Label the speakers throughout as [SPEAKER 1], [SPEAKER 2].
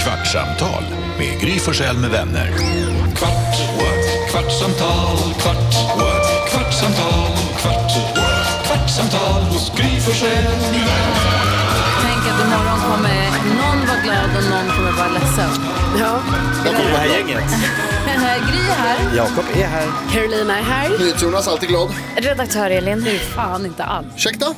[SPEAKER 1] Kvartsamtal med Gry Forssell med vänner.
[SPEAKER 2] Kvart, what? kvartsamtal, kvart, what? kvartsamtal, kvart, what? kvartsamtal hos Gry Forssell med vänner.
[SPEAKER 3] Tänk att imorgon kommer någon vara glad och någon kommer vara ledsen.
[SPEAKER 4] Ja.
[SPEAKER 5] Välkommen det här gänget.
[SPEAKER 3] Gry här.
[SPEAKER 5] Jakob är här.
[SPEAKER 4] Carolina är här.
[SPEAKER 6] NyhetsJonas, alltid glad.
[SPEAKER 4] Redaktör Elin.
[SPEAKER 3] Fan, inte alls.
[SPEAKER 6] Ursäkta?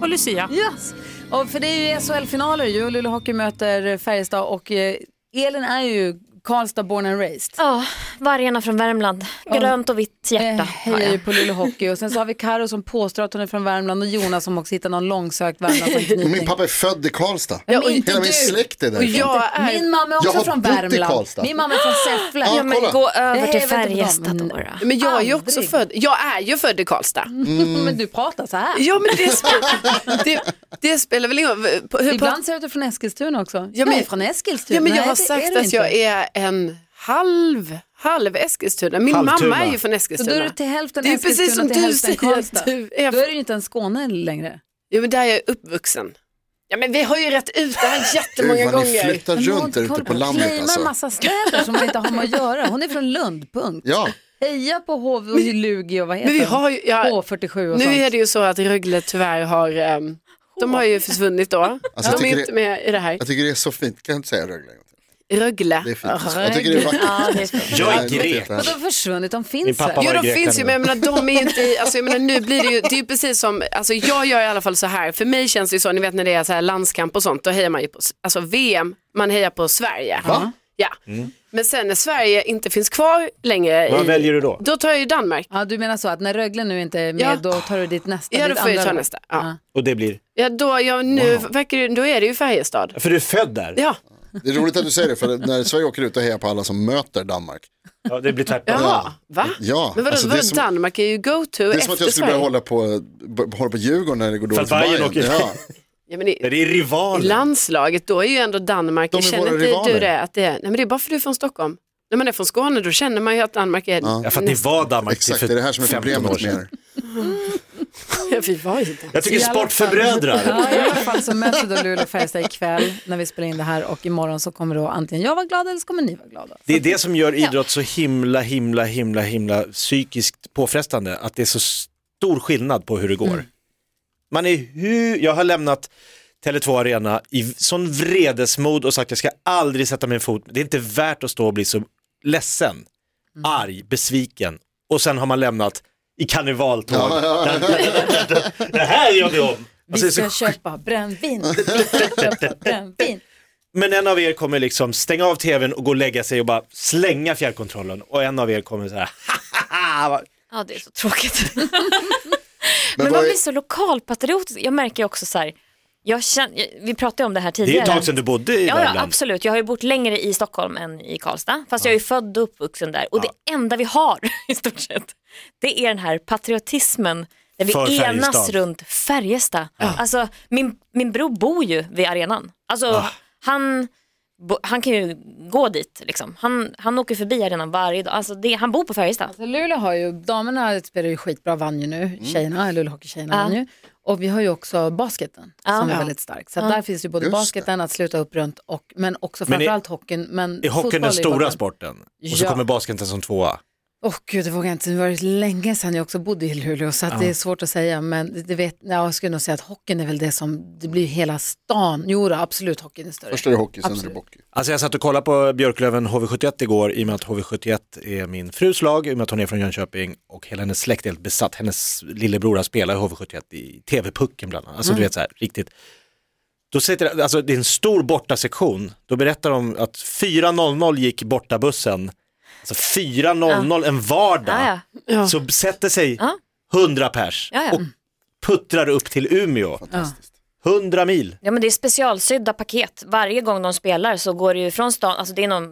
[SPEAKER 4] Och Lucia.
[SPEAKER 3] Yes. Och för det är ju SHL-finaler ju. Luleå Hockey möter Färjestad och eh, Elin är ju Karlstad born and raised.
[SPEAKER 4] Ja, vargarna från Värmland. Grönt och vitt hjärta
[SPEAKER 3] Eh,
[SPEAKER 4] har
[SPEAKER 3] hejar ju
[SPEAKER 4] jag.
[SPEAKER 3] på Luleå Hockey och sen så har vi Karo som påstår att hon är från Värmland och Jonas som också hittar någon långsökt Värmlandsanknytning.
[SPEAKER 6] Min pappa är född i Karlstad.
[SPEAKER 3] Men inte
[SPEAKER 6] Hela min
[SPEAKER 3] du.
[SPEAKER 6] släkt är därifrån.
[SPEAKER 7] Jag är...
[SPEAKER 3] Min mamma är
[SPEAKER 6] Jag
[SPEAKER 3] också
[SPEAKER 6] har
[SPEAKER 3] från
[SPEAKER 6] bott i
[SPEAKER 3] Värmland.
[SPEAKER 6] Karlstad.
[SPEAKER 3] Min mamma är från Säffle.
[SPEAKER 6] Ja,
[SPEAKER 4] Ja, men
[SPEAKER 6] kolla.
[SPEAKER 4] gå över
[SPEAKER 3] Nej, jag
[SPEAKER 4] till
[SPEAKER 3] vet inte vad de-
[SPEAKER 4] Färjestad då. då.
[SPEAKER 7] Men jag är ju också
[SPEAKER 3] Aldrig.
[SPEAKER 7] född, jag är ju född i Karlstad.
[SPEAKER 6] Mm.
[SPEAKER 3] Men du pratar så här.
[SPEAKER 7] Ja men det, spe- det, det spelar väl ingen roll. Hur
[SPEAKER 3] Ibland säger du att du är från Eskilstuna också.
[SPEAKER 7] Ja, men-
[SPEAKER 3] jag är från Eskilstuna.
[SPEAKER 7] ja, men jag
[SPEAKER 3] Nej,
[SPEAKER 7] har
[SPEAKER 3] det
[SPEAKER 7] sagt
[SPEAKER 3] du
[SPEAKER 7] att
[SPEAKER 3] inte.
[SPEAKER 7] jag är en halv, halv Eskilstuna. Min
[SPEAKER 5] Halvtuna.
[SPEAKER 7] mamma är ju från
[SPEAKER 3] Så då är
[SPEAKER 7] Eskilstuna.
[SPEAKER 3] du till hälften
[SPEAKER 7] Det är ju
[SPEAKER 3] Eskilstuna
[SPEAKER 7] precis som
[SPEAKER 3] till
[SPEAKER 7] du
[SPEAKER 3] hälften
[SPEAKER 7] säger
[SPEAKER 3] Karlstad.
[SPEAKER 7] att du är
[SPEAKER 3] Då är det ju inte en Skåne längre.
[SPEAKER 7] Jo men där är jag uppvuxen. Ja men vi har ju rätt ut det här jättemånga
[SPEAKER 6] Gud vad ni
[SPEAKER 7] gånger.
[SPEAKER 6] flyttar runt där ute på landet
[SPEAKER 3] alltså. en
[SPEAKER 6] alltså.
[SPEAKER 3] massa städer som man inte har med att göra. Hon är från Lund, punkt.
[SPEAKER 6] Ja,
[SPEAKER 3] Heja på HV och Lugi och vad heter
[SPEAKER 7] Men vi har ju, ja,
[SPEAKER 3] de? H47 och
[SPEAKER 7] nu
[SPEAKER 3] sånt.
[SPEAKER 7] är det ju så att Rögle tyvärr har, ehm, de har ju försvunnit då.
[SPEAKER 6] Alltså, jag
[SPEAKER 7] de är
[SPEAKER 6] tycker
[SPEAKER 7] ju
[SPEAKER 6] det-
[SPEAKER 7] inte med i det här.
[SPEAKER 6] jag tycker det är så fint. Kan jag inte säga Rögle? en gång till?
[SPEAKER 7] Rögle.
[SPEAKER 6] Det är fint. Jag tycker det är vackert.
[SPEAKER 4] Ja, det är fint.
[SPEAKER 5] Jag är
[SPEAKER 6] Nej, det är
[SPEAKER 5] grek.
[SPEAKER 6] inte
[SPEAKER 3] Men
[SPEAKER 6] här.
[SPEAKER 3] de har försvunnit, de
[SPEAKER 5] Min
[SPEAKER 3] finns
[SPEAKER 5] pappa
[SPEAKER 3] här.
[SPEAKER 5] var
[SPEAKER 7] Jo, de
[SPEAKER 5] grek
[SPEAKER 7] finns ju,
[SPEAKER 5] ändå.
[SPEAKER 7] men jag menar, de är ju inte i, alltså, jag menar, nu blir det ju, det är ju precis som, alltså, jag gör i alla fall så här, för mig känns det ju så, ni vet när det är så här landskamp och sånt, då hejar man ju på, alltså VM, man hejar på Sverige.
[SPEAKER 6] Va?
[SPEAKER 7] Ja, men sen när Sverige inte finns kvar längre,
[SPEAKER 5] Vad väljer du då?
[SPEAKER 7] då tar jag ju Danmark.
[SPEAKER 3] Ja, du menar så att när Rögle nu inte är med
[SPEAKER 7] Ja.
[SPEAKER 3] då tar du ditt nästa?
[SPEAKER 7] Ja, då
[SPEAKER 3] ditt
[SPEAKER 7] får jag
[SPEAKER 3] andra
[SPEAKER 7] ta
[SPEAKER 3] lag.
[SPEAKER 7] nästa. Ja.
[SPEAKER 5] Och det blir?
[SPEAKER 7] Ja, då, ja, nu verkar det, då är det ju Färjestad.
[SPEAKER 5] För du är född där?
[SPEAKER 7] Ja,
[SPEAKER 6] Det är roligt att du säger det, för när Sverige åker ut och hejar på alla som möter Danmark.
[SPEAKER 5] Ja, det blir tvärtom.
[SPEAKER 7] jaha, va?
[SPEAKER 6] Ja,
[SPEAKER 7] men vadå,
[SPEAKER 6] alltså, det är
[SPEAKER 7] vadå,
[SPEAKER 6] som-
[SPEAKER 7] Danmark är ju go-to
[SPEAKER 6] Det är som att
[SPEAKER 7] efter
[SPEAKER 6] jag skulle
[SPEAKER 7] Sverige.
[SPEAKER 6] börja hålla på, b- hålla på Djurgården när det går dåligt
[SPEAKER 5] För att Bayern åker-
[SPEAKER 6] Ja.
[SPEAKER 7] Ja, men i,
[SPEAKER 5] Men Det är
[SPEAKER 7] I
[SPEAKER 5] rivaler.
[SPEAKER 7] landslaget, då är ju ändå Danmark,
[SPEAKER 6] De är
[SPEAKER 7] jag känner
[SPEAKER 6] våra
[SPEAKER 7] inte
[SPEAKER 6] rivaler.
[SPEAKER 7] du det? Att det är, nej men det är bara för du är från Stockholm. När man är från Skåne då känner man ju att Danmark är...
[SPEAKER 5] Ja, för att ni var Danmark till
[SPEAKER 6] Exakt,
[SPEAKER 5] för
[SPEAKER 6] det är det här som är
[SPEAKER 5] 15 år
[SPEAKER 6] problemet med
[SPEAKER 5] sedan.
[SPEAKER 6] er.
[SPEAKER 7] Vi var ju inte.
[SPEAKER 5] Jag tycker
[SPEAKER 3] I alla
[SPEAKER 5] sport
[SPEAKER 3] fall.
[SPEAKER 5] förbrödrar.
[SPEAKER 3] Ja, I alla fall så möts vi då Luleå och Färjestad ikväll när vi spelar in det här och imorgon så kommer då antingen jag vara glad eller så kommer ni vara glada.
[SPEAKER 5] Det är det som gör idrott så himla, himla, himla, himla psykiskt påfrestande. Att det är så stor skillnad på hur det går. Man är hur, jag har lämnat Tele2 Arena i sån vredesmod och sagt jag ska aldrig sätta min fot, det är inte värt att stå och bli så ledsen, arg, besviken och sen har man lämnat i karnevaltåg. det här gör vi om!
[SPEAKER 3] Vi
[SPEAKER 5] Alltså, det är så
[SPEAKER 3] ska köpa brännvin. Köpa brännvin.
[SPEAKER 5] Men en av er kommer liksom stänga av tvn och gå och lägga sig och bara slänga fjärrkontrollen och en av er kommer så här, "Hahaha, vad
[SPEAKER 4] Ja, det är så tråkigt.
[SPEAKER 6] Men
[SPEAKER 4] Men
[SPEAKER 6] vad
[SPEAKER 4] man
[SPEAKER 6] är-
[SPEAKER 4] blir så lokalpatriotisk. Jag märker ju också så här, jag känner, vi pratade ju om det här tidigare.
[SPEAKER 5] Det är ett tag sedan du bodde i
[SPEAKER 4] Ja, ja,
[SPEAKER 5] Värmland.
[SPEAKER 4] absolut. Jag har ju bott längre i Stockholm än i Karlstad. Fast jag är ju född och uppvuxen där. Och det enda vi har i stort sett, det är den här patriotismen. Där vi
[SPEAKER 5] För
[SPEAKER 4] enas
[SPEAKER 5] Färjestad.
[SPEAKER 4] runt Färjestad. Alltså, min, min bror bor ju vid arenan. Alltså,
[SPEAKER 5] Ah.
[SPEAKER 4] han, bo- han kan ju gå dit. Liksom. Han, han åker förbi arenan varje dag. Alltså, det, han bor på Färjestad.
[SPEAKER 3] Så Luleå har ju, damerna spelar ju skitbra, vann ju nu,
[SPEAKER 5] Mm.
[SPEAKER 3] tjejerna, Luleå Hockeytjejerna vann ju. Och vi har ju också basketen som är
[SPEAKER 4] Ja.
[SPEAKER 3] väldigt stark. Så att där finns ju både
[SPEAKER 6] Just det.
[SPEAKER 3] basketen att sluta upp runt och, men också
[SPEAKER 5] Men är-
[SPEAKER 3] framförallt hockeyn. Men
[SPEAKER 5] Är hockeyn den stora
[SPEAKER 3] sporten?
[SPEAKER 5] sporten? Och så
[SPEAKER 3] Ja.
[SPEAKER 5] kommer basketen som tvåa.
[SPEAKER 3] Åh gud, det vågar jag inte. Det var ju länge sedan jag också bodde i Luleå så att det är svårt att säga. Men det- det vet, ja, jag skulle nog säga att hockeyn är väl det som, det blir ju hela stan. Jo då, absolut hockeyn är större.
[SPEAKER 6] Först är det hockey, sen är det
[SPEAKER 3] Absolut.
[SPEAKER 6] bockey.
[SPEAKER 5] Alltså jag satt och kollade på Björklöven HV71 igår i och med att HV71 är min frus lag, i och med att hon är från Jönköping och hela hennes släkt är helt besatt. Hennes lillebror har spelat i HV71 i TV-pucken bland annat.
[SPEAKER 4] Mm.
[SPEAKER 5] Alltså du vet så här, riktigt. Då sitter, alltså det är en stor bortasektion, då berättar de att 4.00 gick bortabussen, alltså 4.00 en vardag,
[SPEAKER 4] Ah, Ja,
[SPEAKER 7] Ja.
[SPEAKER 5] så sätter sig
[SPEAKER 4] Ja.
[SPEAKER 5] 100 pers
[SPEAKER 4] Ja, Mm. ja.
[SPEAKER 5] och puttrar upp till Umeå. 100 mil.
[SPEAKER 4] Ja men det är specialsydda paket. Varje gång de spelar så går det ju från stan, alltså det är någon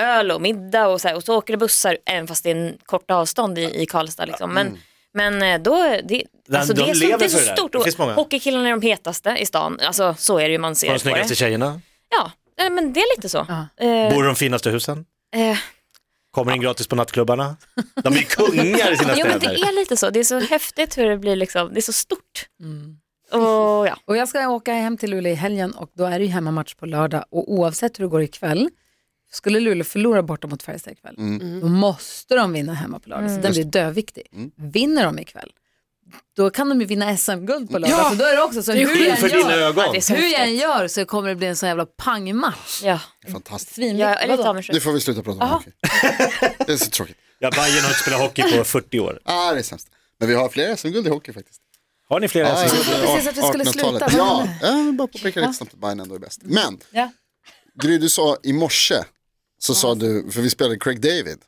[SPEAKER 4] öl och middag och så, här, och så åker det bussar även fast det är en kort avstånd i, i Karlstad liksom. Men, men eh, då, det,
[SPEAKER 5] Nej,
[SPEAKER 4] alltså
[SPEAKER 5] de
[SPEAKER 4] det är så,
[SPEAKER 5] lever
[SPEAKER 4] det är så
[SPEAKER 5] för det där.
[SPEAKER 4] stort.
[SPEAKER 5] Det
[SPEAKER 4] Och
[SPEAKER 5] finns många.
[SPEAKER 4] Hockeykillarna är de hetaste i stan, alltså så är det ju man ser
[SPEAKER 5] De
[SPEAKER 4] på det.
[SPEAKER 5] snyggaste tjejerna,
[SPEAKER 4] Ja, eh, men det är lite så. Eh,
[SPEAKER 5] bor i de finaste husen.
[SPEAKER 4] eh,
[SPEAKER 5] Kommer in gratis på nattklubbarna. De är ju kungar i sina
[SPEAKER 4] jo men det
[SPEAKER 5] städer.
[SPEAKER 4] är lite så, det är så häftigt hur det blir liksom, det är så stort. Och ja,
[SPEAKER 3] Och jag ska åka hem till Luleå i helgen och då är det ju hemmamatch på lördag och oavsett hur det går ikväll, skulle Luleå förlora borta mot Färjestad ikväll, då måste de vinna hemma på lördag, så den blir dödviktig. Vinner de ikväll, då kan de ju vinna SM-guld på lördag, så då är det också så hur jag,
[SPEAKER 5] För
[SPEAKER 3] än
[SPEAKER 5] dina
[SPEAKER 3] gör,
[SPEAKER 5] ögon.
[SPEAKER 4] det är så
[SPEAKER 3] hur jag än
[SPEAKER 4] häftigt.
[SPEAKER 3] gör så kommer det bli en sån jävla pangmatch.
[SPEAKER 4] Ja,
[SPEAKER 6] Fantastiskt.
[SPEAKER 3] Svinligt.
[SPEAKER 4] jag är lite
[SPEAKER 3] Vadå?
[SPEAKER 6] Nu
[SPEAKER 4] avundsjuk.
[SPEAKER 6] får vi sluta prata om hockey. Det är så tråkigt.
[SPEAKER 5] Ja, Bajen har inte spelat hockey på 40 år.
[SPEAKER 6] Ah, det är sämst. Men vi har fler SM-guld i hockey faktiskt.
[SPEAKER 5] Har ni flera?
[SPEAKER 6] Ah,
[SPEAKER 5] SM-guld?
[SPEAKER 3] trodde precis att vi skulle
[SPEAKER 6] 1800-talet.
[SPEAKER 3] sluta,
[SPEAKER 6] Ja,
[SPEAKER 3] men-
[SPEAKER 6] jag vill bara påpeka lite snabbt att Bayern ändå är bäst. Men,
[SPEAKER 3] Ja.
[SPEAKER 6] Gry, du sa i morse, så sa du, för vi spelade Craig David.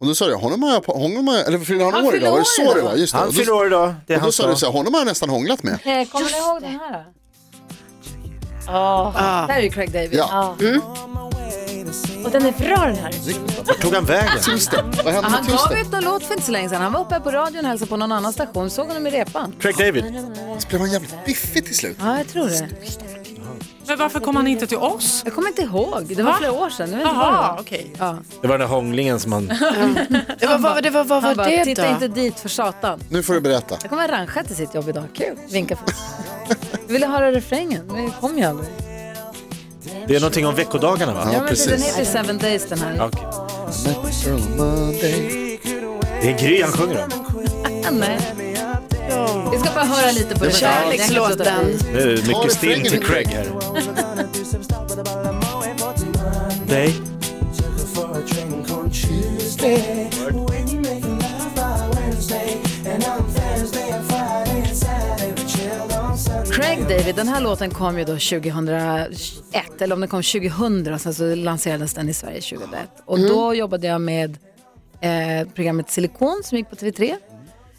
[SPEAKER 6] Och då sa du, honom har jag, på- honom har jag eller fyller han
[SPEAKER 3] Han
[SPEAKER 6] år
[SPEAKER 3] fyller
[SPEAKER 6] idag? Var det
[SPEAKER 3] år
[SPEAKER 6] så
[SPEAKER 3] idag.
[SPEAKER 6] det var? Just det.
[SPEAKER 5] Han
[SPEAKER 6] Och
[SPEAKER 5] fyller
[SPEAKER 6] då,
[SPEAKER 5] år idag. Det är
[SPEAKER 6] och då
[SPEAKER 5] han
[SPEAKER 6] sa du så här, honom har jag nästan hånglat med.
[SPEAKER 3] Eh, Kommer ni ihåg den här? då?
[SPEAKER 4] Ja.
[SPEAKER 3] Det här är ju Craig David.
[SPEAKER 6] Ja.
[SPEAKER 4] Och den är bra den här.
[SPEAKER 5] Vart tog han vägen?
[SPEAKER 6] Just det, vad hände
[SPEAKER 3] Han
[SPEAKER 6] med
[SPEAKER 3] gav
[SPEAKER 6] Tusen?
[SPEAKER 3] ut någon låt för inte så länge sedan. Han var uppe på radion och hälsade på någon annan station. Såg honom i repan?
[SPEAKER 5] Craig David.
[SPEAKER 6] Så blev han jävligt biffig till slut.
[SPEAKER 3] Ja, jag tror det.
[SPEAKER 8] Men varför kom han inte till oss?
[SPEAKER 3] Jag kommer inte ihåg. Det var flera år sedan. Jag vet inte vad det
[SPEAKER 8] Jaha,
[SPEAKER 3] var.
[SPEAKER 8] okej.
[SPEAKER 5] Det var den där hånglingen som han...
[SPEAKER 7] Det var, vad, det var, vad
[SPEAKER 3] Han
[SPEAKER 7] var
[SPEAKER 3] bara,
[SPEAKER 7] det
[SPEAKER 3] titta inte
[SPEAKER 7] då?
[SPEAKER 3] dit för satan.
[SPEAKER 6] Nu får du berätta.
[SPEAKER 3] Jag kommer arrangera till sitt jobb idag. Kul. Vinka för Du ville höra refrängen, men det kom ju aldrig.
[SPEAKER 5] Det är någonting om veckodagarna va?
[SPEAKER 6] Ja,
[SPEAKER 3] men Den
[SPEAKER 6] precis.
[SPEAKER 3] heter ju Seven Days den här.
[SPEAKER 5] Ja,
[SPEAKER 3] Ja.
[SPEAKER 5] okej.
[SPEAKER 6] Earl Monday.
[SPEAKER 5] Det är Gry han sjunger om.
[SPEAKER 3] Nej. Vi ska bara höra lite på refrängen. Jag kan inte låta
[SPEAKER 7] Kärlekslåten.
[SPEAKER 3] bli.
[SPEAKER 5] Det är
[SPEAKER 6] Ta
[SPEAKER 5] mycket stim
[SPEAKER 6] refrängen
[SPEAKER 5] till
[SPEAKER 6] nu,
[SPEAKER 5] Craig
[SPEAKER 6] Craig.
[SPEAKER 5] här. Nej.
[SPEAKER 3] Craig David, den här låten kom ju då 2001, eller om den kom 2000 och sen så lanserades den i Sverige 2001. Och då jobbade jag med eh, programmet Silikon som gick på TV3.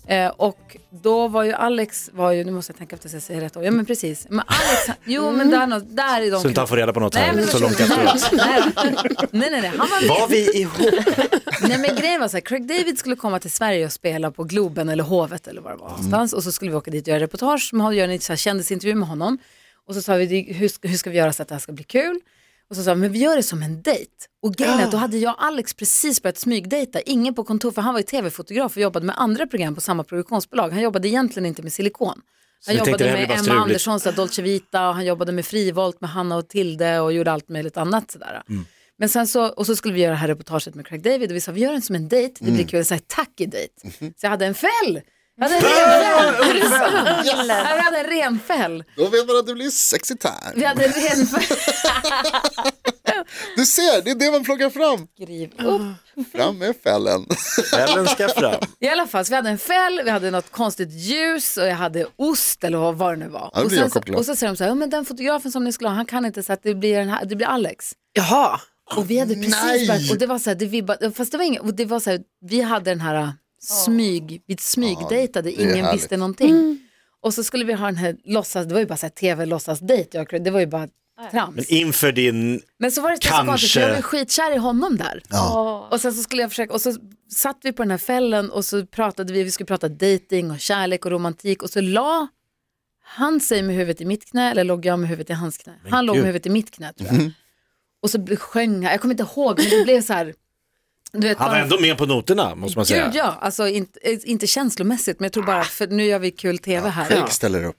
[SPEAKER 3] Eh, och då var ju Alex, var ju, nu måste jag tänka efter så jag säger rätt år, ja men precis. Men Alex, han- jo men där, nå- där är de...
[SPEAKER 5] Så inte han får reda på något här
[SPEAKER 3] men-
[SPEAKER 5] så långt efteråt.
[SPEAKER 3] Nej, nej, nej, nej, han var med.
[SPEAKER 5] Var vi ihop?
[SPEAKER 3] Nej men grejen var så här, Craig David skulle komma till Sverige och spela på Globen eller Hovet eller vad det var
[SPEAKER 5] Mm.
[SPEAKER 3] någonstans. Och så skulle vi åka dit och göra reportage, med honom, göra en så här kändisintervju med honom. Och så sa vi, "Det- hur ska, hur ska vi göra så att det här ska bli kul? Och så sa vi, men vi gör det som en dejt. Och grejen
[SPEAKER 5] Ah.
[SPEAKER 3] är att då hade jag och Alex precis börjat smygdejta, ingen på kontor, för han var ju tv-fotograf och jobbade med andra program på samma produktionsbolag. Han jobbade egentligen inte med silikon. Han
[SPEAKER 5] ni tänkte,
[SPEAKER 3] jobbade
[SPEAKER 5] "Det här blir
[SPEAKER 3] med
[SPEAKER 5] bara
[SPEAKER 3] Emma
[SPEAKER 5] struligt."
[SPEAKER 3] Andersson, så här, Dolce Vita, och han jobbade med Frivolt, med Hanna och Tilde och gjorde allt möjligt annat. Sådär.
[SPEAKER 6] Mm.
[SPEAKER 3] Men sen så, och så skulle vi göra det här reportaget med Craig David och vi sa vi gör den som en dejt,
[SPEAKER 6] Mm.
[SPEAKER 3] det blir kul, så här, tacky dejt.
[SPEAKER 6] Mhm.
[SPEAKER 3] Så jag hade en fäll! Jag hade en renfäll! Är det sant? Ja, vi hade en renfäll.
[SPEAKER 6] Då vet man att det blir sexy time.
[SPEAKER 3] Vi hade en renfäll.
[SPEAKER 6] Du ser, det är det man plockar fram.
[SPEAKER 3] Skriv upp.
[SPEAKER 6] Fram med fällen.
[SPEAKER 5] Ellen ska fram.
[SPEAKER 3] I alla fall, så vi hade en fäll, vi hade något konstigt ljus och jag hade ost eller vad- vad det nu var.
[SPEAKER 6] Ja, det
[SPEAKER 3] och,
[SPEAKER 6] blir
[SPEAKER 3] sen,
[SPEAKER 6] Jakob
[SPEAKER 3] så-
[SPEAKER 6] glad.
[SPEAKER 3] och så säger de så här, ja, men den fotografen som ni skulle ha, han kan inte så att det blir, den här, det blir Alex.
[SPEAKER 7] Jaha.
[SPEAKER 3] Och vi hade precis
[SPEAKER 6] Nej!
[SPEAKER 3] börjat, och det var så här, det vibbade, fast det var inget, och det var så här, vi hade den här äh, smyg, vi smygdejtade,
[SPEAKER 6] det är
[SPEAKER 3] ingen
[SPEAKER 6] härligt.
[SPEAKER 3] visste någonting. Och så skulle vi ha den här låtsas, det var ju bara så här tv låtsasdejt, jag kunde- det var ju bara trams. Men,
[SPEAKER 5] Men inför din...
[SPEAKER 3] så var det så här så konstigt, för
[SPEAKER 5] Kanske.
[SPEAKER 3] jag var ju skitkär i honom där. Och sen så skulle jag försöka, och så satt vi på den här fällen och så pratade vi, vi skulle prata dating och kärlek och romantik och så la han sig med huvudet i mitt knä eller låg jag med huvudet i hans knä? han låg med
[SPEAKER 5] gud.
[SPEAKER 3] huvudet i mitt knä tror jag. Och så bl- sjöng han, jag kommer inte ihåg men det blev så här, du vet,
[SPEAKER 5] Han var
[SPEAKER 3] bara-
[SPEAKER 5] ändå med på noterna måste man säga.
[SPEAKER 3] Gud ja, alltså inte, eh, inte känslomässigt men jag tror bara för nu gör vi kul tv här.
[SPEAKER 6] Craig ställer upp.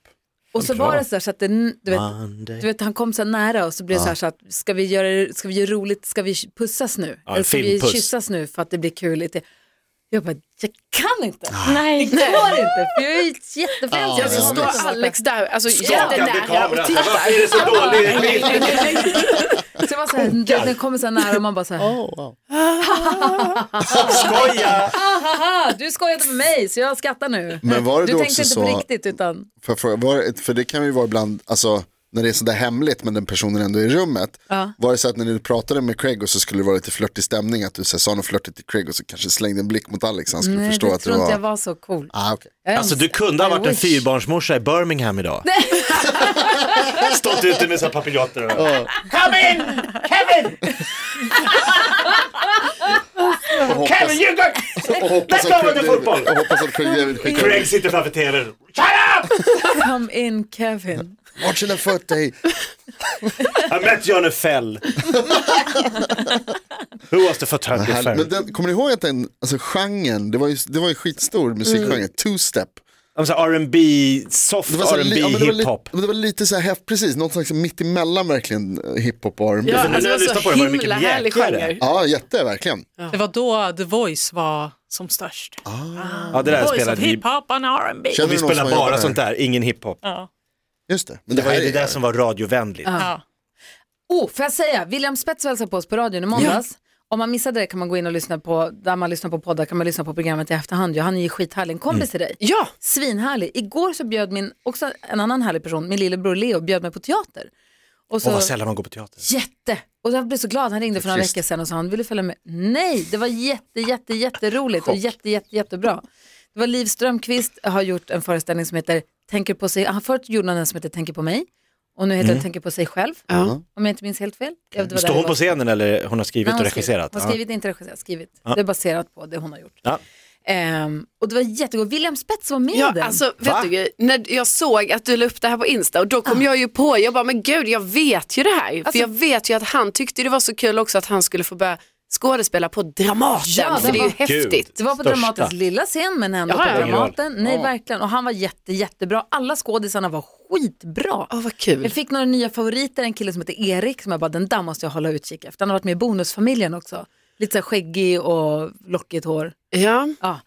[SPEAKER 3] Och så var det så här så att det, du vet,
[SPEAKER 5] Monday.
[SPEAKER 3] du vet, han kom så här nära och så blev det så här så att ska vi göra det- ska vi göra roligt, ska vi pussas nu?
[SPEAKER 5] Ja, en
[SPEAKER 3] Eller ska vi
[SPEAKER 5] filmpuss.
[SPEAKER 3] kyssas nu för att det blir kul? i te- Jag bara, jag kan inte,
[SPEAKER 4] Nej.
[SPEAKER 3] det går inte, för jag är jätteförälskad.
[SPEAKER 7] Jag så står Alex där, alltså jättenära och tittar.
[SPEAKER 5] Varför är det så dålig bild?
[SPEAKER 3] Så jag var så här, du vet, den kommer så här nära och man bara så här,
[SPEAKER 5] Skoja!
[SPEAKER 3] haha, "Ah, du skojade med mig så jag skrattar nu.
[SPEAKER 6] Men var det
[SPEAKER 3] du
[SPEAKER 6] då
[SPEAKER 3] tänkte
[SPEAKER 6] också
[SPEAKER 3] inte på
[SPEAKER 6] så-
[SPEAKER 3] riktigt utan,
[SPEAKER 6] För, jag fråga, var, det- för det kan ju vara ibland, alltså när det är sådär hemligt men den personen ändå är i rummet. Var det så att när du pratade med Craig och så skulle det vara lite flörtig stämning att du så här, sa något flörtigt till Craig och så kanske slängde en blick mot Alex han skulle
[SPEAKER 3] nej
[SPEAKER 6] förstå
[SPEAKER 3] det
[SPEAKER 6] att det
[SPEAKER 3] tror inte
[SPEAKER 6] var...
[SPEAKER 3] jag var så cool.
[SPEAKER 6] Ah, okay.
[SPEAKER 3] Jag
[SPEAKER 5] Alltså
[SPEAKER 3] önskar-
[SPEAKER 5] du kunde ha
[SPEAKER 3] I
[SPEAKER 5] varit en
[SPEAKER 3] wish.
[SPEAKER 5] fyrbarnsmorsa i Birmingham idag. Stått ute med sina papiljotter och... Come in! Kevin!
[SPEAKER 6] Jag hoppas,
[SPEAKER 5] Kevin you go!
[SPEAKER 6] och hoppas,
[SPEAKER 5] Let's go
[SPEAKER 6] att
[SPEAKER 5] with the
[SPEAKER 6] Craig David,
[SPEAKER 5] football!
[SPEAKER 6] jag hoppas att Craig David skickar
[SPEAKER 5] Craig sitter framför tvn. Shut up!
[SPEAKER 3] Come in Kevin.
[SPEAKER 6] Watching a foot day.
[SPEAKER 5] I met you on a fell. Who was the photographer?
[SPEAKER 6] Men den, kommer ni ihåg att den, alltså genren, det var ju, det var ju skitstor musikgenre, two-step.
[SPEAKER 5] Ja, men så här R&B, soft
[SPEAKER 6] Det var, så här,
[SPEAKER 5] R&B,
[SPEAKER 6] li- ja, men det var li-
[SPEAKER 5] hiphop.
[SPEAKER 6] men det var lite så här, häft- precis, något slags mitt emellan verkligen eh, hiphop och R&B.
[SPEAKER 7] Ja,
[SPEAKER 6] Ja.
[SPEAKER 5] nu när
[SPEAKER 7] alltså,
[SPEAKER 5] jag
[SPEAKER 7] det var
[SPEAKER 5] lyssnar
[SPEAKER 7] så
[SPEAKER 5] på det var det mycket
[SPEAKER 7] himla härlig
[SPEAKER 5] mjäkigare.
[SPEAKER 7] genre.
[SPEAKER 6] ja, jätte verkligen.
[SPEAKER 8] Det var då The Voice var som störst.
[SPEAKER 5] Ja, det där
[SPEAKER 8] Voice
[SPEAKER 5] spelade
[SPEAKER 8] of
[SPEAKER 5] vi.
[SPEAKER 8] hiphop and R&B.
[SPEAKER 6] Känner
[SPEAKER 5] Och vi
[SPEAKER 6] du någon
[SPEAKER 5] spelar
[SPEAKER 6] som har
[SPEAKER 5] bara
[SPEAKER 6] jobbat
[SPEAKER 5] sånt
[SPEAKER 6] här?
[SPEAKER 5] där, ingen hiphop.
[SPEAKER 6] Just det. Men
[SPEAKER 5] Det var ju
[SPEAKER 6] här
[SPEAKER 5] det
[SPEAKER 6] är-
[SPEAKER 5] där som var radiovänligt.
[SPEAKER 8] Ja.
[SPEAKER 3] Oh, får jag säga, William Spets hälsade på oss på radion i måndags. Om man missade det kan man gå in och lyssna på, där man lyssnar på poddar kan man lyssna på programmet i efterhand. Ja, han är ju skithärlig. En kompis till dig.
[SPEAKER 7] Ja,
[SPEAKER 3] Svinhärlig. Igår så bjöd min, också en annan härlig person, min lillebror Leo, bjöd mig på teater. Och så,
[SPEAKER 5] Och vad sällan man går på teater.
[SPEAKER 3] jätte! Och jag blev så glad, han ringde för några veckor sedan och sa han ville följa med. Nej, det var jätte, jätte, jätteroligt och jätte, jätte, jättebra. Det var Liv Strömquist har gjort en föreställning som heter Tänker på sig, han förut gjorde han en som heter Tänker på mig och nu heter den Tänker på sig själv,
[SPEAKER 7] Ja.
[SPEAKER 3] om jag inte minns helt fel. Jag vet inte vad det
[SPEAKER 5] Mm. Står hon
[SPEAKER 3] var.
[SPEAKER 5] på scenen eller hon har skrivit
[SPEAKER 3] Nej,
[SPEAKER 5] och
[SPEAKER 3] hon har
[SPEAKER 5] regisserat?
[SPEAKER 3] Hon har skrivit, inte regisserat, skrivit.
[SPEAKER 5] Ja.
[SPEAKER 3] Det är baserat på det hon har gjort.
[SPEAKER 5] Ja.
[SPEAKER 3] Ehm, och det var jättegott. William Spets var med i
[SPEAKER 7] ja
[SPEAKER 3] den.
[SPEAKER 7] alltså,
[SPEAKER 5] Va?
[SPEAKER 7] vet du, grej? när jag såg att du la upp det här på Insta och då kom jag ju på, jag bara men gud jag vet ju det här. För
[SPEAKER 3] Ah. Alltså-
[SPEAKER 7] jag vet ju att han tyckte det var så kul också att han skulle få börja skådespela på Dramaten.
[SPEAKER 3] Ja,
[SPEAKER 7] för det är ju
[SPEAKER 3] det var-
[SPEAKER 7] häftigt.
[SPEAKER 3] det var på
[SPEAKER 5] Största.
[SPEAKER 3] Dramatens lilla scen men ändå
[SPEAKER 7] Jaha,
[SPEAKER 3] på
[SPEAKER 7] ja.
[SPEAKER 3] Dramaten. Nej, verkligen. Och han var jätte, jättebra. Alla skådisarna var skitbra.
[SPEAKER 7] Åh vad kul.
[SPEAKER 3] Jag fick några nya favoriter, en kille som heter Erik som jag bara, den där måste jag hålla utkik efter. Han har varit med i Bonusfamiljen också. Lite så här skäggig och lockigt hår.
[SPEAKER 7] Ja.
[SPEAKER 3] Ja,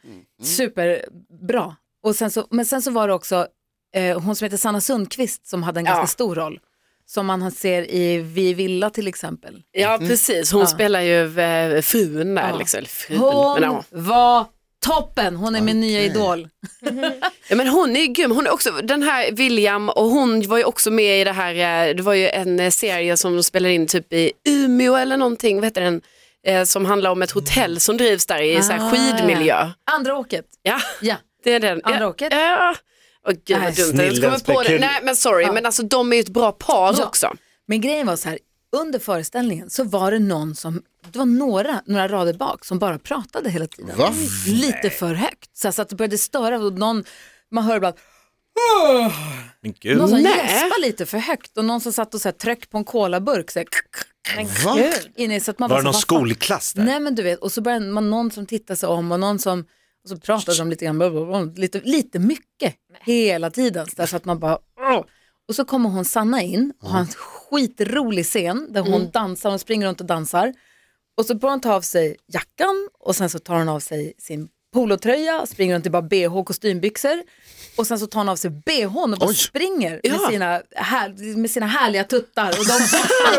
[SPEAKER 3] superbra. Och sen så, men sen så var det också eh, hon som heter Sanna Sundqvist som hade en ganska
[SPEAKER 7] Ja.
[SPEAKER 3] stor roll. Som man ser i Vi Villa till exempel.
[SPEAKER 7] ja, precis. Hon spelar ju eh, frun där. Liksom. Eller frun,
[SPEAKER 3] Hon
[SPEAKER 7] men, ja.
[SPEAKER 3] var toppen, hon är min nya idol.
[SPEAKER 7] Ja, men hon är ju grym. Hon är också, den här William och hon var ju också med i det här, eh, det var ju en eh, serie som de spelade in typ i Umeå eller någonting, vad heter den? Eh, Som handlar om ett hotell som drivs där i så
[SPEAKER 3] Ah,
[SPEAKER 7] här skidmiljö.
[SPEAKER 3] Andra åket.
[SPEAKER 7] Ja,
[SPEAKER 3] Ja.
[SPEAKER 7] det är den.
[SPEAKER 3] Andra
[SPEAKER 7] ja.
[SPEAKER 3] åket.
[SPEAKER 7] Ja. Åh gud
[SPEAKER 3] Nej,
[SPEAKER 7] vad dumt. Jag
[SPEAKER 5] snillen
[SPEAKER 7] kommer på det.
[SPEAKER 5] spekul-
[SPEAKER 7] Nej men sorry, men alltså de är ju ett bra par
[SPEAKER 3] Ja.
[SPEAKER 7] också.
[SPEAKER 3] Men grejen var så här, under föreställningen så var det någon som, det var några, några rader bak som bara pratade hela tiden.
[SPEAKER 6] Va?
[SPEAKER 3] Lite för högt. Så, här, så att det började störa och någon, man hör ibland
[SPEAKER 5] Men gud.
[SPEAKER 3] Någon som
[SPEAKER 7] Nej.
[SPEAKER 3] gäspade lite för högt och någon som satt och så här tryck på en colaburk. Så här,
[SPEAKER 6] Va?
[SPEAKER 3] in i, så att man
[SPEAKER 5] Var det
[SPEAKER 3] så,
[SPEAKER 5] någon
[SPEAKER 3] "Vad fan?"
[SPEAKER 5] skolklass där?
[SPEAKER 3] Nej men du vet, och så började man någon som tittade sig om och någon som och så pratade de lite grann, bla, bla, bla, lite, lite mycket hela tiden. Så, där, så att man bara, "Åh." och så kommer hon Sanna in och har en skitrolig scen där hon dansar, hon springer runt och dansar. Och så får hon ta av sig jackan och sen så tar hon av sig sin polotröja, springer runt i bara bh och kostymbyxor. Och sen så tar hon av sig bhn och bara
[SPEAKER 6] Oj.
[SPEAKER 3] springer med,
[SPEAKER 7] Ja.
[SPEAKER 3] sina här, med sina härliga tuttar. Och de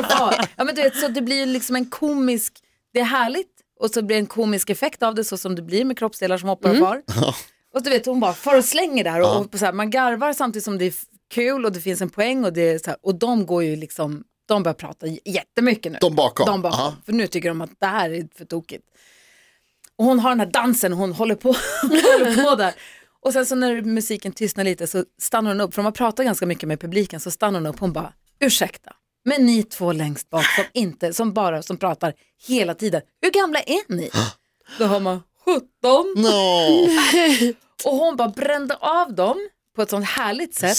[SPEAKER 3] far. ja, men du vet, så det blir ju liksom en komisk, det är härligt och så blir det en komisk effekt av det så som det blir med kroppsdelar som
[SPEAKER 6] Mm.
[SPEAKER 3] hoppar och far. Och du vet hon bara far och slänger där och, och så här, man garvar samtidigt som det är f- kul och det finns en poäng och, det är så här, och de går ju liksom, de börjar prata j- jättemycket nu.
[SPEAKER 6] De bakom?
[SPEAKER 3] De bakom.
[SPEAKER 6] Ja.
[SPEAKER 3] För nu tycker de att det här är för tokigt. Och hon har den här dansen, hon håller på, hon håller på där. Och sen så när musiken tystnar lite så stannar hon upp, för de har pratat ganska mycket med publiken, så stannar hon upp, hon bara, ursäkta, men ni två längst bak som inte, som bara, som pratar hela tiden, hur gamla är ni? Då har man 17.
[SPEAKER 6] No.
[SPEAKER 3] Och hon bara brände av dem på ett sånt härligt sätt,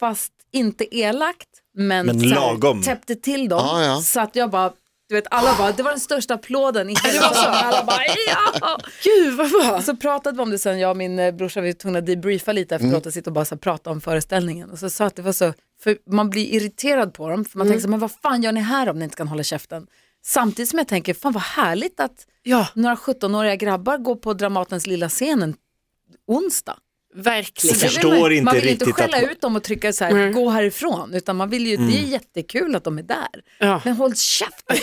[SPEAKER 3] fast inte elakt, men,
[SPEAKER 5] Men
[SPEAKER 3] så här
[SPEAKER 5] lagom.
[SPEAKER 3] täppte till dem.
[SPEAKER 6] Ja, ja.
[SPEAKER 3] Så att jag bara, du vet alla bara, det var den största applåden i hela världen. Alla bara, ja!
[SPEAKER 7] Gud vad bra.
[SPEAKER 3] Så pratade vi om det sen, jag och min eh, brorsa, vi var tvungna att debriefa lite
[SPEAKER 6] Mm.
[SPEAKER 3] efteråt och sitta och bara så här, prata om föreställningen. Och så sa att det var så, för man blir irriterad på dem, för man tänker så, men vad fan gör ni här om ni inte kan hålla käften? Samtidigt som jag tänker, fan vad härligt att
[SPEAKER 7] Ja,
[SPEAKER 3] några 17-åriga grabbar går på Dramatens lilla scenen onsdag.
[SPEAKER 7] verkligen.
[SPEAKER 5] Jag förstår
[SPEAKER 3] man, man
[SPEAKER 5] inte
[SPEAKER 3] vill ju
[SPEAKER 5] riktigt
[SPEAKER 3] inte skälla
[SPEAKER 5] att man- Mm.
[SPEAKER 3] ut dem och trycka så här, gå härifrån, utan man vill ju, det är ju jättekul att de är där.
[SPEAKER 7] Ja.
[SPEAKER 3] Men håll käften!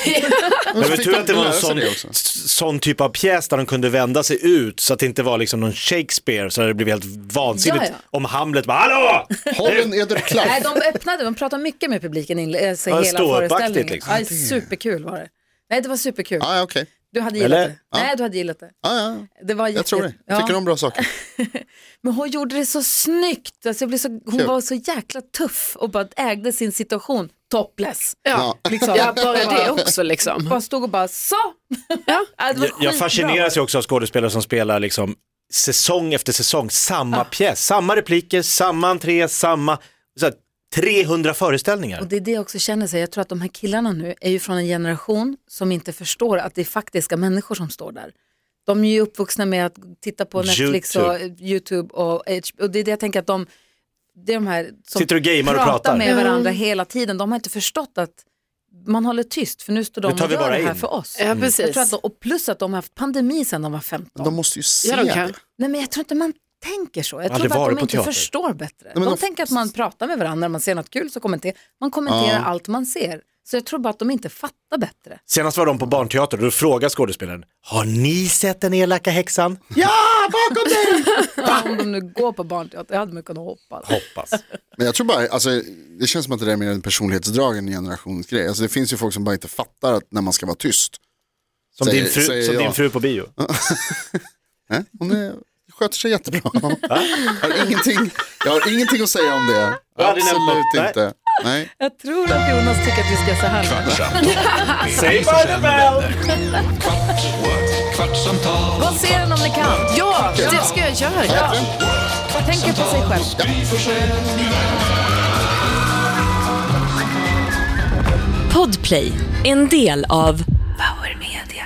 [SPEAKER 5] Men det var tur att det var en
[SPEAKER 6] Löser
[SPEAKER 5] sån,
[SPEAKER 6] det också.
[SPEAKER 5] s- sån typ av pjäs där de kunde vända sig ut så att det inte var liksom någon Shakespeare så det blev helt vansinnigt
[SPEAKER 3] Ja, ja.
[SPEAKER 5] om Hamlet bara hallå!
[SPEAKER 6] Håll en ederklaff.
[SPEAKER 3] Nej, de öppnade, de pratade mycket med publiken inle- alltså,
[SPEAKER 5] Ja,
[SPEAKER 3] hela
[SPEAKER 5] ståuppaktigt
[SPEAKER 3] föreställningen.
[SPEAKER 5] liksom.
[SPEAKER 3] Ja, superkul var det. Nej, det var superkul.
[SPEAKER 6] Ah, ja, okej.
[SPEAKER 3] Du hade gillat
[SPEAKER 5] Eller?
[SPEAKER 3] det. Nej, du hade gillat det.
[SPEAKER 6] Ah, ja.
[SPEAKER 3] det var jätte-
[SPEAKER 6] Jag tror det. Jag
[SPEAKER 3] Ja.
[SPEAKER 6] tycker om bra saker.
[SPEAKER 3] Men hon gjorde det så snyggt. Alltså, jag blev så, hon
[SPEAKER 6] Kul.
[SPEAKER 3] var så jäkla tuff och bara ägde sin situation topless.
[SPEAKER 7] Ja.
[SPEAKER 3] Liksom. Mm.
[SPEAKER 7] ja, bara det också liksom.
[SPEAKER 3] Bara stod och bara så.
[SPEAKER 7] Ja.
[SPEAKER 3] Ja, det var
[SPEAKER 5] Jag,
[SPEAKER 3] skitbra.
[SPEAKER 5] jag fascineras ju också av skådespelare som spelar liksom säsong efter säsong samma pjäs, samma repliker, samma entré, samma så här, 300 föreställningar.
[SPEAKER 3] Och det är det jag också känner, sig. jag tror att de här killarna nu är ju från en generation som inte förstår att det är faktiska människor som står där. De är ju uppvuxna med att titta på Netflix och
[SPEAKER 5] YouTube.
[SPEAKER 3] YouTube och, H- och det är det jag tänker att de, det är de här som
[SPEAKER 5] Sitter och gamer och pratar.
[SPEAKER 3] med varandra hela tiden, de har inte förstått att man håller tyst för nu står de
[SPEAKER 5] Nu tar
[SPEAKER 3] och
[SPEAKER 5] vi
[SPEAKER 3] gör
[SPEAKER 5] bara
[SPEAKER 3] det här
[SPEAKER 5] in.
[SPEAKER 3] för oss.
[SPEAKER 7] Ja, precis.
[SPEAKER 3] Jag tror att de, och plus att de har haft pandemi sedan de var 15.
[SPEAKER 6] De måste ju se
[SPEAKER 7] Ja, de kan.
[SPEAKER 6] det.
[SPEAKER 3] Nej men jag tror inte man tänker så. Jag tror
[SPEAKER 5] Aldrig
[SPEAKER 3] bara att
[SPEAKER 5] varit
[SPEAKER 3] de
[SPEAKER 5] på
[SPEAKER 3] inte
[SPEAKER 5] teater.
[SPEAKER 3] förstår bättre.
[SPEAKER 6] men
[SPEAKER 3] de
[SPEAKER 6] de-
[SPEAKER 3] tänker att man pratar med varandra, när man ser något kul så kommenterar man. kommenterar allt man ser. Så jag tror bara att de inte fattar bättre.
[SPEAKER 5] Senast var de på barnteater och då frågade skådespelaren, har ni sett den elaka häxan? Ja, bakom dig!
[SPEAKER 3] Om de nu går på barnteater, jag hade man kunnat hoppas.
[SPEAKER 5] Hoppas.
[SPEAKER 6] Men jag tror bara, alltså, det känns som att det där är mer en personlighetsdrag än en generationsgrej. Alltså, det finns ju folk som bara inte fattar att när man ska vara tyst.
[SPEAKER 5] Som,
[SPEAKER 6] Säger-
[SPEAKER 5] din, fru,
[SPEAKER 6] säger
[SPEAKER 5] som
[SPEAKER 6] jag.
[SPEAKER 5] din fru på bio.
[SPEAKER 6] Nej, hon är, sköter sig jättebra. jag, har ingenting, jag har ingenting att säga om det.
[SPEAKER 5] Jag har aldrig nämnt
[SPEAKER 6] Absolut
[SPEAKER 5] något.
[SPEAKER 6] inte. Nej.
[SPEAKER 3] Jag tror att Jonas tycker att vi ska så här.
[SPEAKER 1] Kvartsamtal med Gry Forssell med
[SPEAKER 5] by the
[SPEAKER 1] vänner.
[SPEAKER 2] Kvart, what? kvartsamtal,
[SPEAKER 3] Vad ser den om ni kan?
[SPEAKER 7] Ja, det ska jag göra.
[SPEAKER 3] Tänker på sig själv.
[SPEAKER 2] Gry Forssell med vänner.
[SPEAKER 9] Podplay, en del av Power Media.